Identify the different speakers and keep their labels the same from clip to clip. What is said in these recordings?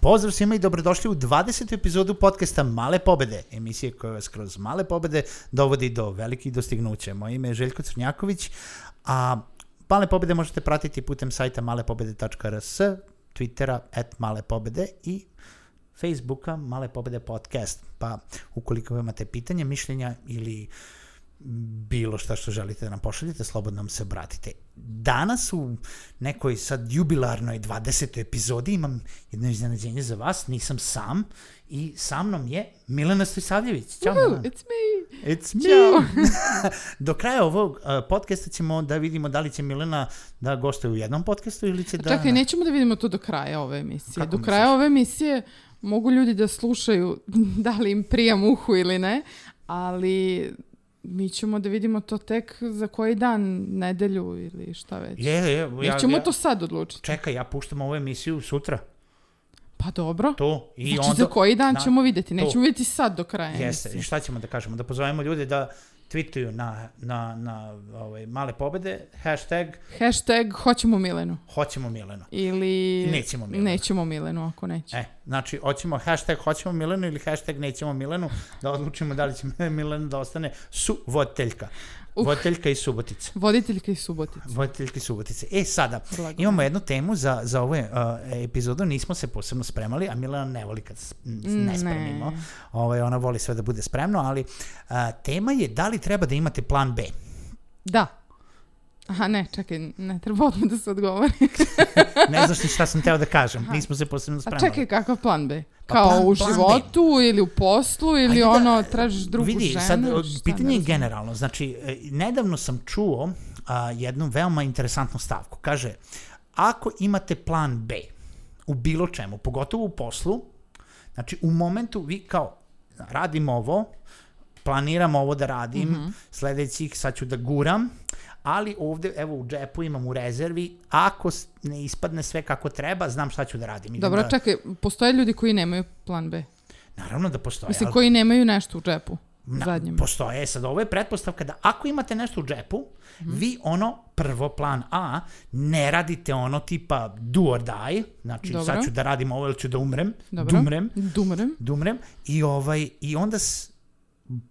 Speaker 1: Pozdrav svima i dobrodošli u 20. epizodu podcasta Male pobede, emisije koja vas kroz male pobede dovodi do velikih dostignuća. Moje ime je Željko Crnjaković, a Male pobede možete pratiti putem sajta malepobede.rs, Twittera at Male pobede i Facebooka Male pobede podcast. Pa ukoliko imate pitanja, mišljenja ili bilo šta što želite da nam pošaljete, slobodno nam se obratite. Danas u nekoj sad jubilarnoj 20. epizodi imam jedno iznenađenje za vas, nisam sam i sa mnom je Milena Stojsavljević. Ćao
Speaker 2: Ooh,
Speaker 1: Milena.
Speaker 2: Hm, it's me.
Speaker 1: It's me.
Speaker 2: Ćao.
Speaker 1: Do kraja ovog uh, podcasta ćemo da vidimo da li će Milena da gostuje u jednom podcastu ili će da...
Speaker 2: Čekaj, nećemo da vidimo to do kraja ove emisije.
Speaker 1: Kako
Speaker 2: do
Speaker 1: misliš?
Speaker 2: kraja ove emisije mogu ljudi da slušaju da li im prijam uhu ili ne, ali mi ćemo da vidimo to tek za koji dan, nedelju ili šta već.
Speaker 1: Je, je, je, ja,
Speaker 2: Nećemo
Speaker 1: ja,
Speaker 2: to sad odlučiti.
Speaker 1: Čekaj, ja puštam ovu emisiju sutra.
Speaker 2: Pa dobro.
Speaker 1: To. I
Speaker 2: znači
Speaker 1: onda...
Speaker 2: za koji dan
Speaker 1: na-
Speaker 2: ćemo vidjeti. Nećemo vidjeti sad do kraja.
Speaker 1: Jeste, i
Speaker 2: emisije.
Speaker 1: šta ćemo da kažemo? Da pozovemo ljude da tweetuju na, na, na ovaj, male pobede, hashtag
Speaker 2: Hashtag hoćemo Milenu.
Speaker 1: hoćemo Milenu.
Speaker 2: Ili...
Speaker 1: Nećemo Milenu.
Speaker 2: Nećemo Milenu ako neće.
Speaker 1: E, znači, hoćemo hashtag hoćemo Milenu ili hashtag nećemo Milenu, da odlučimo da li će Milena da ostane suvoteljka.
Speaker 2: Uh.
Speaker 1: Voteljka iz Subotice.
Speaker 2: Voditeljka iz Subotica.
Speaker 1: Voditeljke Subotice. E, sada,
Speaker 2: Blago.
Speaker 1: imamo jednu temu za, za ovu uh, epizodu, nismo se posebno spremali, a Milana ne voli kad s- n- ne
Speaker 2: Ne.
Speaker 1: spremimo. Ovaj, ona voli sve da bude spremno, ali uh, tema je da li treba da imate plan B.
Speaker 2: Da. Aha, ne, čekaj, ne treba odmah da se odgovori.
Speaker 1: Ne znaš ni šta sam teo da kažem, nismo se posebno
Speaker 2: A
Speaker 1: spremali.
Speaker 2: Pa čekaj, kakav plan B?
Speaker 1: Pa
Speaker 2: Kao
Speaker 1: plan-
Speaker 2: u
Speaker 1: plan B.
Speaker 2: životu ili u poslu ili
Speaker 1: Ajde da,
Speaker 2: ono, tražiš drugu
Speaker 1: Vidi,
Speaker 2: ženu?
Speaker 1: sad,
Speaker 2: ili
Speaker 1: o,
Speaker 2: šta,
Speaker 1: pitanje
Speaker 2: ne
Speaker 1: je
Speaker 2: znam.
Speaker 1: generalno. Znači, e, nedavno sam čuo a, jednu veoma interesantnu stavku. Kaže, ako imate plan B u bilo čemu, pogotovo u poslu, znači u momentu vi kao radim ovo, planiram ovo da radim,
Speaker 2: Mhm.
Speaker 1: sledećih sad ću da guram, ali ovde, evo u džepu imam u rezervi, ako s- ne ispadne sve kako treba, znam šta ću da radim. Idem
Speaker 2: Dobro,
Speaker 1: da,
Speaker 2: čekaj, postoje ljudi koji nemaju plan B.
Speaker 1: Naravno da postoje.
Speaker 2: Mislim,
Speaker 1: ali-
Speaker 2: koji nemaju nešto u džepu.
Speaker 1: Na,
Speaker 2: zadnjem.
Speaker 1: Postoje. E Sad, ovo je pretpostavka da ako imate nešto u džepu,
Speaker 2: Mhm.
Speaker 1: vi ono, prvo plan A, ne radite ono tipa do or die, znači
Speaker 2: Dobro.
Speaker 1: sad ću da radim ovo ili ću da umrem,
Speaker 2: Dobro.
Speaker 1: dumrem,
Speaker 2: Dumrem.
Speaker 1: dumrem i, ovaj, i onda s,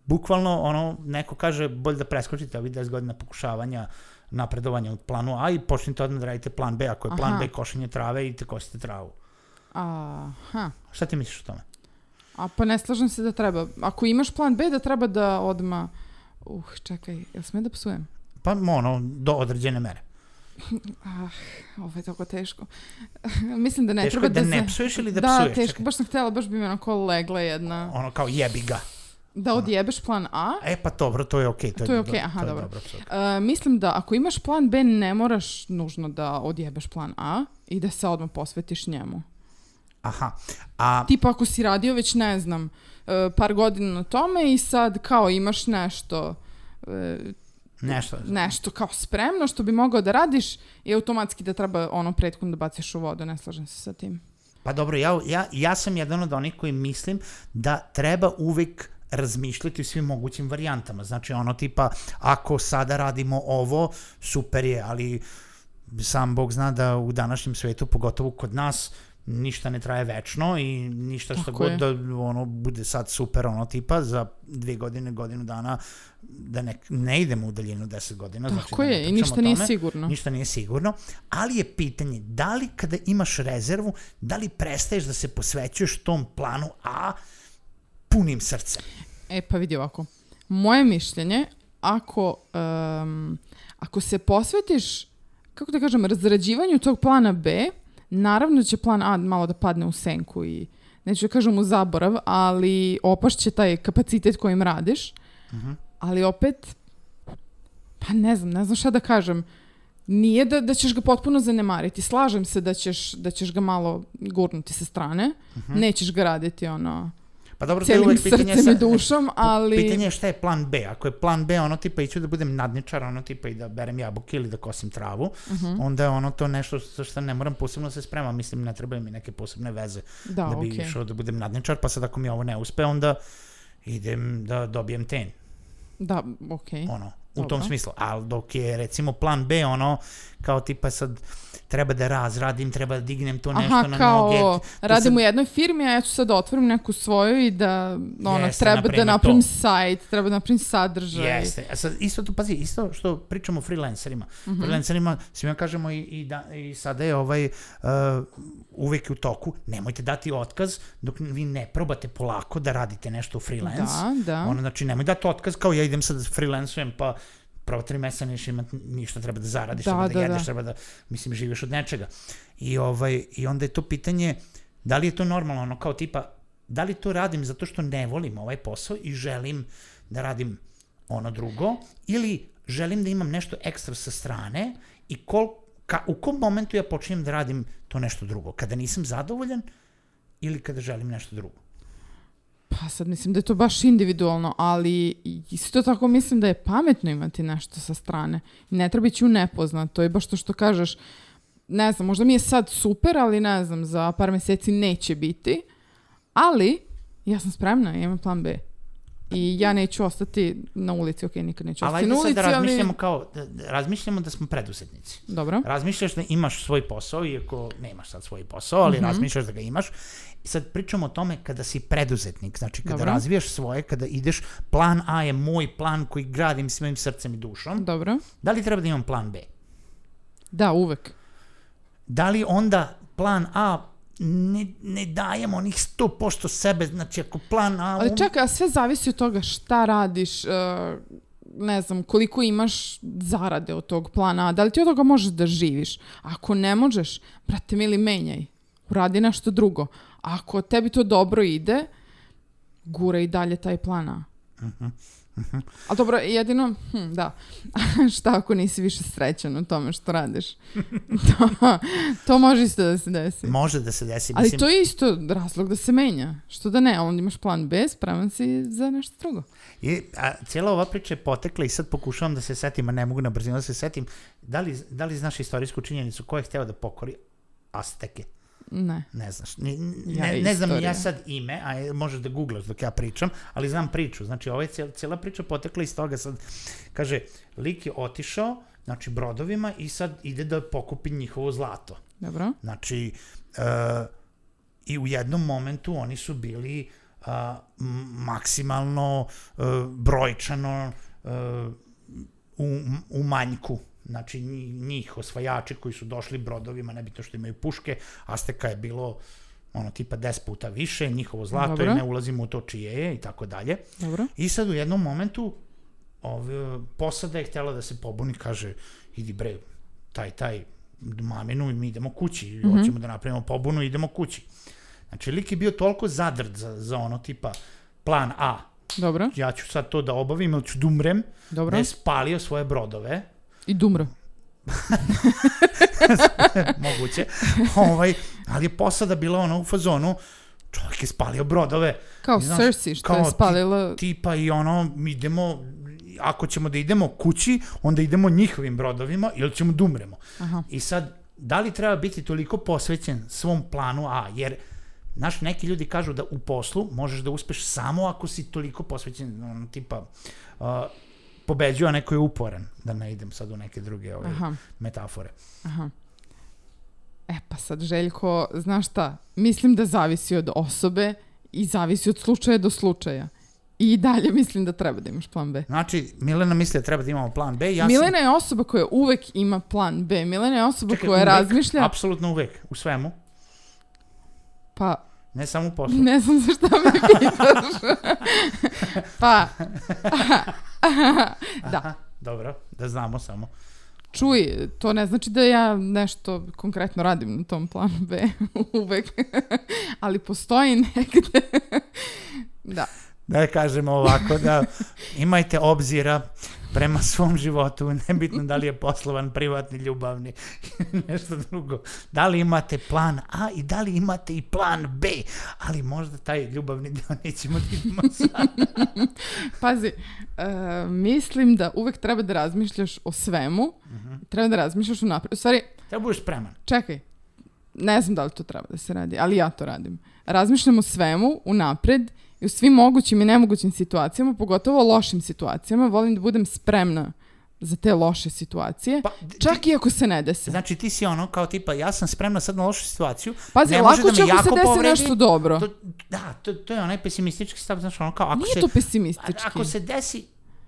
Speaker 1: bukvalno ono, neko kaže bolje da preskočite ovih 10 godina pokušavanja napredovanja od planu A i počnite odmah da radite plan B, ako je plan
Speaker 2: Aha.
Speaker 1: B košenje trave i te kosite travu.
Speaker 2: Aha.
Speaker 1: Šta ti misliš o tome?
Speaker 2: A pa ne slažem se da treba. Ako imaš plan B, da treba da odma... Uh, čekaj, jel sme da psujem?
Speaker 1: Pa ono, do određene mere.
Speaker 2: Ah, ovo je tako teško. Mislim da ne
Speaker 1: teško je
Speaker 2: treba
Speaker 1: da,
Speaker 2: da,
Speaker 1: ne
Speaker 2: se-
Speaker 1: psuješ ili da,
Speaker 2: Da,
Speaker 1: psuješ?
Speaker 2: teško.
Speaker 1: Čekaj.
Speaker 2: Baš sam htjela, baš bi mi onako legla jedna.
Speaker 1: Ono kao jebi ga.
Speaker 2: Da odjebeš plan A.
Speaker 1: E pa dobro, to je okej. to,
Speaker 2: To je
Speaker 1: do-
Speaker 2: okej, aha,
Speaker 1: to je
Speaker 2: dobro.
Speaker 1: apsolutno.
Speaker 2: E, mislim da ako imaš plan B ne moraš nužno da odjebeš plan A i da se odmah posvetiš njemu.
Speaker 1: Aha, a
Speaker 2: Tipa ako si radio već ne znam e, par godina na tome i sad kao imaš nešto e,
Speaker 1: nešto,
Speaker 2: nešto kao spremno što bi mogao da radiš i automatski da treba ono prethodno da baciš u vodu, ne slažem se sa tim.
Speaker 1: pa dobro, ja, ja, ja sam jedan od onih koji mislim da treba uvek razmišljati o svim mogućim varijantama. Znači ono tipa, ako sada radimo ovo, super je, ali sam Bog zna da u današnjem svetu, pogotovo kod nas, ništa ne traje večno i ništa što
Speaker 2: Tako
Speaker 1: god
Speaker 2: je.
Speaker 1: da ono bude sad super ono tipa za dvije godine, godinu dana da ne, ne idemo u daljinu deset godina. znači,
Speaker 2: Tako
Speaker 1: da ne
Speaker 2: je i
Speaker 1: pričamo o
Speaker 2: ništa nije
Speaker 1: tome.
Speaker 2: sigurno.
Speaker 1: Ništa nije sigurno, ali je pitanje da li kada imaš rezervu, da li prestaješ da se posvećuješ tom planu A punim srcem.
Speaker 2: E pa vidi ovako. Moje mišljenje, ako, em, ako se posvetiš, kako da kažem, razrađivanju tog plana B, naravno će plan A malo da padne u senku i neću da kažem u zaborav, ali opašće taj kapacitet kojim radiš. Ali opet, pa ne znam, ne znam šta da kažem. Nije da, da ćeš ga potpuno zanemariti. Slažem se da ćeš, da ćeš ga malo gurnuti sa strane. Nećeš ga raditi ono
Speaker 1: Pa dobro, to je
Speaker 2: celim
Speaker 1: uvek pitanje
Speaker 2: srcem
Speaker 1: sa...
Speaker 2: i dušom, ali...
Speaker 1: Pitanje je šta je plan B. Ako je plan B ono tipa iću da budem nadničar, ono tipa i da berem jabuke ili da kosim travu,
Speaker 2: Mhm.
Speaker 1: onda je ono to nešto sa što ne moram posebno da se spremam. Mislim, ne trebaju mi neke posebne veze
Speaker 2: Da,
Speaker 1: da bi
Speaker 2: okej.
Speaker 1: išao da budem nadničar, pa sad ako mi ovo ne uspe, onda idem da dobijem ten.
Speaker 2: Da, okej.
Speaker 1: ono, u
Speaker 2: Dobro.
Speaker 1: tom smislu. Ali dok je recimo plan B ono, kao tipa sad treba da razradim, treba da dignem to nešto
Speaker 2: Aha,
Speaker 1: na noge.
Speaker 2: kao
Speaker 1: To
Speaker 2: radim
Speaker 1: sam-
Speaker 2: u jednoj firmi, a ja ću sad da otvorim neku svoju i da ono,
Speaker 1: Jeste,
Speaker 2: treba da
Speaker 1: napravim
Speaker 2: napravim
Speaker 1: to.
Speaker 2: sajt, treba da napravim sadržaj.
Speaker 1: Jeste. A sad, isto tu, pazi, isto što pričamo o freelancerima.
Speaker 2: Mhm.
Speaker 1: Freelancerima, svima kažemo i, i, da, i sada je ovaj, uh, uvek u toku, nemojte dati otkaz dok vi ne probate polako da radite nešto u freelance.
Speaker 2: Da, da.
Speaker 1: Ono, znači, nemoj dati otkaz kao ja idem sad da freelancujem, pa prvo tri meseca neš imat ništa, treba da zaradiš,
Speaker 2: Da,
Speaker 1: treba da,
Speaker 2: da,
Speaker 1: jedeš,
Speaker 2: da.
Speaker 1: treba da, mislim, živiš od nečega. I, ovaj, I onda je to pitanje, da li je to normalno, ono kao tipa, da li to radim zato što ne volim ovaj posao i želim da radim ono drugo, ili želim da imam nešto ekstra sa strane i kol, ka, u kom momentu ja počinjem da radim to nešto drugo? Kada nisam zadovoljan ili kada želim nešto drugo?
Speaker 2: Pa sad mislim da je to baš individualno, ali isto tako mislim da je pametno imati nešto sa strane. Ne treba ići u nepoznato je baš to što kažeš, ne znam, možda mi je sad super, ali ne znam, za par meseci neće biti, ali ja sam spremna, ja imam plan B. I ja neću ostati na ulici, ok, nikad neću
Speaker 1: Ali
Speaker 2: ostati
Speaker 1: ajde
Speaker 2: na
Speaker 1: sad
Speaker 2: ulici,
Speaker 1: da
Speaker 2: ali...
Speaker 1: razmišljamo kao, da, da razmišljamo da smo preduzetnici.
Speaker 2: Dobro.
Speaker 1: Razmišljaš da imaš svoj posao, iako nemaš sad svoj posao, ali
Speaker 2: Mhm.
Speaker 1: razmišljaš da ga imaš. I sad pričamo o tome kada si preduzetnik, znači kada
Speaker 2: Dobro.
Speaker 1: razvijaš svoje, kada ideš, plan A je moj plan koji gradim svojim srcem i dušom.
Speaker 2: Dobro.
Speaker 1: Da li treba da imam plan B?
Speaker 2: Da, uvek.
Speaker 1: Da li onda plan A ne, ne dajem onih 100% sebe, znači ako plan A...
Speaker 2: Ali
Speaker 1: um-
Speaker 2: čekaj, a sve zavisi od toga šta radiš, e, ne znam, koliko imaš zarade od tog plana, A, da li ti od toga možeš da živiš? Ako ne možeš, brate mili, menjaj. Uradi nešto drugo. Ako tebi to dobro ide, gura i dalje taj plan A. Ali dobro, jedino, hm, da, šta ako nisi više srećan u tome što radiš? to, to može isto da se desi.
Speaker 1: Može da se desi.
Speaker 2: Ali
Speaker 1: mislim,
Speaker 2: to je isto razlog da se menja. Što da ne, onda imaš plan B, spreman si za nešto drugo.
Speaker 1: I, a, cijela ova priča je potekla i sad pokušavam da se setim, a ne mogu na brzinu da se setim. Da li, da li znaš istorijsku činjenicu ko je hteo da pokori Azteke?
Speaker 2: Ne.
Speaker 1: Ne znaš. Ne,
Speaker 2: Ja
Speaker 1: ne, ne znam ni ja
Speaker 2: istorija.
Speaker 1: sad ime, a je- možeš da googlaš dok ja pričam, ali znam priču. Znači, ova je cijela, cijela priča potekla iz toga. Sad, kaže, lik je otišao, znači, brodovima i sad ide da pokupi njihovo zlato.
Speaker 2: Dobro.
Speaker 1: Znači, e, i u jednom momentu oni su bili a, m- maksimalno e, brojčano e, u, u manjku. Znači, nji- njih osvajači koji su došli brodovima, nebitno što imaju puške, Azteka je bilo ono tipa 10 puta više, njihovo zlato
Speaker 2: Dobro.
Speaker 1: i ne ulazimo u to čije je i tako dalje.
Speaker 2: Dobro.
Speaker 1: I sad u jednom momentu ove, posada je htjela da se pobuni, kaže, idi bre, taj, taj, maminu i mi idemo kući, mm hoćemo da napravimo pobunu i idemo kući. Znači, lik je bio toliko zadrt za, za ono tipa plan A,
Speaker 2: Dobro.
Speaker 1: ja ću sad to da obavim ili ću da umrem, da
Speaker 2: Dobro.
Speaker 1: je spalio svoje brodove,
Speaker 2: I dumro.
Speaker 1: moguće, ovaj, ali je posada bila ono u fazonu, čovjek je spalio brodove,
Speaker 2: Kao
Speaker 1: Znaš,
Speaker 2: Cersei što
Speaker 1: kao
Speaker 2: je
Speaker 1: ti-
Speaker 2: spalila...
Speaker 1: tipa i ono, mi idemo, ako ćemo da idemo kući, onda idemo njihovim brodovima ili ćemo da umremo.
Speaker 2: Aha.
Speaker 1: I sad, da li treba biti toliko posvećen svom planu A? Jer, znaš, neki ljudi kažu da u poslu možeš da uspeš samo ako si toliko posvećen, ono, tipa, uh, pobeđuje, a neko je uporan. Da ne idem sad u neke druge ove,
Speaker 2: Aha.
Speaker 1: metafore.
Speaker 2: Aha. E pa sad, Željko, znaš šta? Mislim da zavisi od osobe i zavisi od slučaja do slučaja. I dalje mislim da treba da imaš plan B.
Speaker 1: Znači, Milena misli da treba da imamo plan B. Ja
Speaker 2: Milena je osoba koja uvek ima plan B. Milena je
Speaker 1: sam,
Speaker 2: osoba
Speaker 1: čekaj,
Speaker 2: koja
Speaker 1: uvek,
Speaker 2: razmišlja,
Speaker 1: Apsolutno uvek, u svemu.
Speaker 2: pa
Speaker 1: Ne samo u poslu.
Speaker 2: Ne znam za šta me pitaš. pa, Da.
Speaker 1: Aha, dobro, da znamo samo.
Speaker 2: čuj, to ne znači da ja nešto konkretno radim na tom planu B uvek, ali postoji negde. da,
Speaker 1: da kažemo ovako, da imajte obzira prema svom životu, nebitno da li je poslovan, privatni, ljubavni, nešto drugo. Da li imate plan A i da li imate i plan B, ali možda taj ljubavni deo nećemo da idemo sad.
Speaker 2: pazi, e, mislim da uvek treba da razmišljaš o svemu, treba da razmišljaš u napred. U stvari,
Speaker 1: Treba Da budeš spreman.
Speaker 2: čekaj, ne znam da li to treba da se radi, ali ja to radim. Razmišljam o svemu, unapred, i u svim mogućim i nemogućim situacijama, pogotovo o lošim situacijama, volim da budem spremna za te loše situacije,
Speaker 1: Pa, d-
Speaker 2: čak i ako se ne dese.
Speaker 1: Znači ti si ono kao tipa ja sam spremna sad na lošu situaciju.
Speaker 2: Pazi,
Speaker 1: ne može
Speaker 2: lako
Speaker 1: da
Speaker 2: će
Speaker 1: me
Speaker 2: ako se
Speaker 1: jako
Speaker 2: desi
Speaker 1: povredi.
Speaker 2: nešto dobro.
Speaker 1: To, da, to, to je onaj pesimistički stav, znaš, ono kao ako
Speaker 2: Nije
Speaker 1: se,
Speaker 2: to pesimistički.
Speaker 1: a- ako se desi,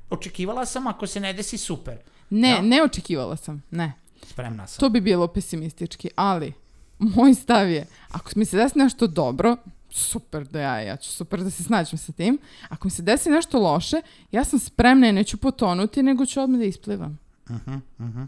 Speaker 1: očekivala sam, ako se ne desi, super.
Speaker 2: Ne,
Speaker 1: Da.
Speaker 2: ne očekivala sam, ne.
Speaker 1: Spremna sam.
Speaker 2: To bi bilo pesimistički, ali moj stav je, ako mi se desi nešto dobro, super da ja, ja ću super da se snađem sa tim. Ako mi se desi nešto loše, ja sam spremna i neću potonuti, nego ću odmah da isplivam.
Speaker 1: Mhm, mhm.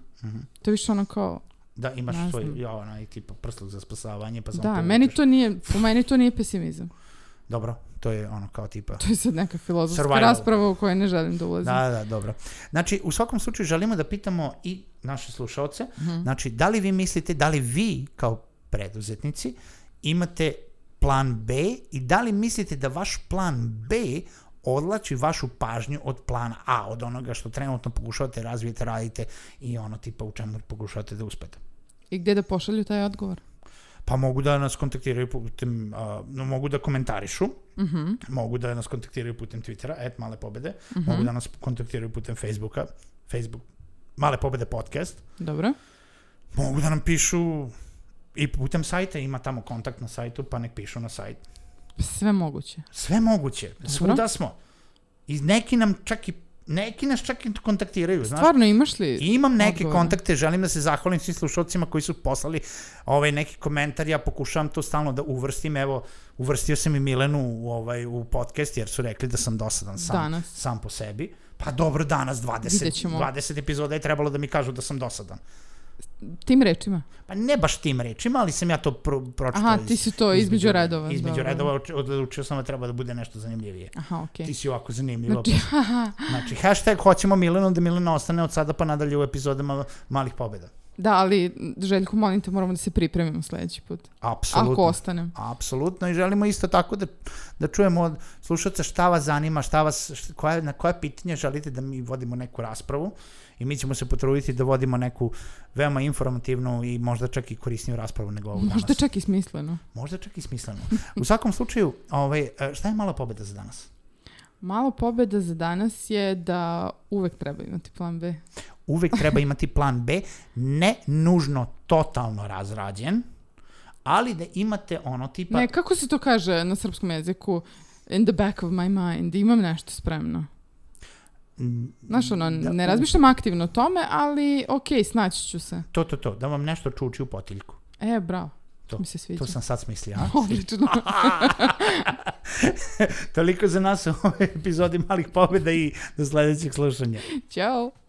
Speaker 2: To je više ono kao,
Speaker 1: Da, imaš
Speaker 2: Ne
Speaker 1: svoj,
Speaker 2: znam.
Speaker 1: ja, onaj tipa prsluk za spasavanje, pa samo
Speaker 2: da,
Speaker 1: povučeš.
Speaker 2: meni to nije, po meni to nije pesimizam.
Speaker 1: Dobro, to je ono kao tipa...
Speaker 2: To je sad neka filozofska
Speaker 1: Survival.
Speaker 2: rasprava u kojoj ne želim da ulazim.
Speaker 1: Da, da, dobro. Znači, u svakom slučaju želimo da pitamo i naše slušaoce,
Speaker 2: Mhm.
Speaker 1: znači, da li vi mislite, da li vi kao preduzetnici imate plan B i da li mislite da vaš plan B odlači vašu pažnju od plana A, od onoga što trenutno pokušavate razvijete, radite i ono tipa u čemu pokušavate da uspete.
Speaker 2: I gdje da pošalju taj odgovor?
Speaker 1: Pa mogu da nas kontaktiraju putem, a, no, mogu da komentarišu, mogu da nas kontaktiraju putem Twittera, et Male Pobede, mogu da nas kontaktiraju putem Facebooka, Facebook Male Pobede podcast,
Speaker 2: Dobro.
Speaker 1: mogu da nam pišu i putem sajta, ima tamo kontakt na sajtu, pa nek pišu na sajt.
Speaker 2: Sve moguće.
Speaker 1: Sve moguće, svuda smo. I neki nam čak i, neki nas čak i kontaktiraju, znaš.
Speaker 2: Stvarno imaš li?
Speaker 1: I imam neke
Speaker 2: Odgovore.
Speaker 1: kontakte, želim da se zahvalim svim slušalcima koji su poslali ovaj neki komentar, ja pokušavam to stalno da uvrstim, evo, uvrstio sam i Milenu u, ovaj, u podcast jer su rekli da sam dosadan sam,
Speaker 2: Danas.
Speaker 1: sam po sebi. Pa dobro, danas 20,
Speaker 2: Vidjet ćemo.
Speaker 1: 20 epizoda je trebalo da mi kažu da sam dosadan.
Speaker 2: Tim rečima.
Speaker 1: Pa ne baš tim rečima, ali sam ja to pro, pročitao.
Speaker 2: Aha,
Speaker 1: iz-
Speaker 2: ti si to između redova,
Speaker 1: Između
Speaker 2: dobro.
Speaker 1: redova oč- odlučio sam da treba da bude nešto zanimljivije.
Speaker 2: Aha, okej.
Speaker 1: Ti si ovako zanimljiva. Znači, znači hashtag hoćemo Milenu da Milena ostane od sada pa nadalje u epizodama malih pobjeda.
Speaker 2: Da, ali Željko, molim te, moramo da se pripremimo sljedeći put.
Speaker 1: Apsolutno.
Speaker 2: Ako ostanem.
Speaker 1: Apsolutno i želimo isto tako da, da čujemo od slušalca šta vas zanima, šta vas, št- koja, na koja pitanja želite da mi vodimo neku raspravu i mi ćemo se potruditi da vodimo neku veoma informativnu i možda čak i korisniju raspravu nego ovu
Speaker 2: Možda
Speaker 1: danas.
Speaker 2: čak i smisleno.
Speaker 1: Možda čak i smislenu. U svakom slučaju, ovaj, e, šta je mala pobeda za danas?
Speaker 2: Malo pobjeda za danas je da uvek treba imati plan B.
Speaker 1: Uvek treba imati plan B, ne nužno totalno razrađen, ali da imate ono tipa...
Speaker 2: Ne, kako se to kaže na srpskom jeziku? In the back of my mind. Imam nešto spremno.
Speaker 1: m,
Speaker 2: Znaš, ono,
Speaker 1: Da.
Speaker 2: ne razmišljam aktivno o tome, ali okej, snaći ću se.
Speaker 1: To, to, to, da vam nešto čuči u potiljku.
Speaker 2: E, bravo.
Speaker 1: To,
Speaker 2: mi se sviđa.
Speaker 1: to sam sad smislio. a?
Speaker 2: Odlično.
Speaker 1: Toliko za nas u ovoj epizodi malih pobjeda i do sljedećeg slušanja.
Speaker 2: Ćao.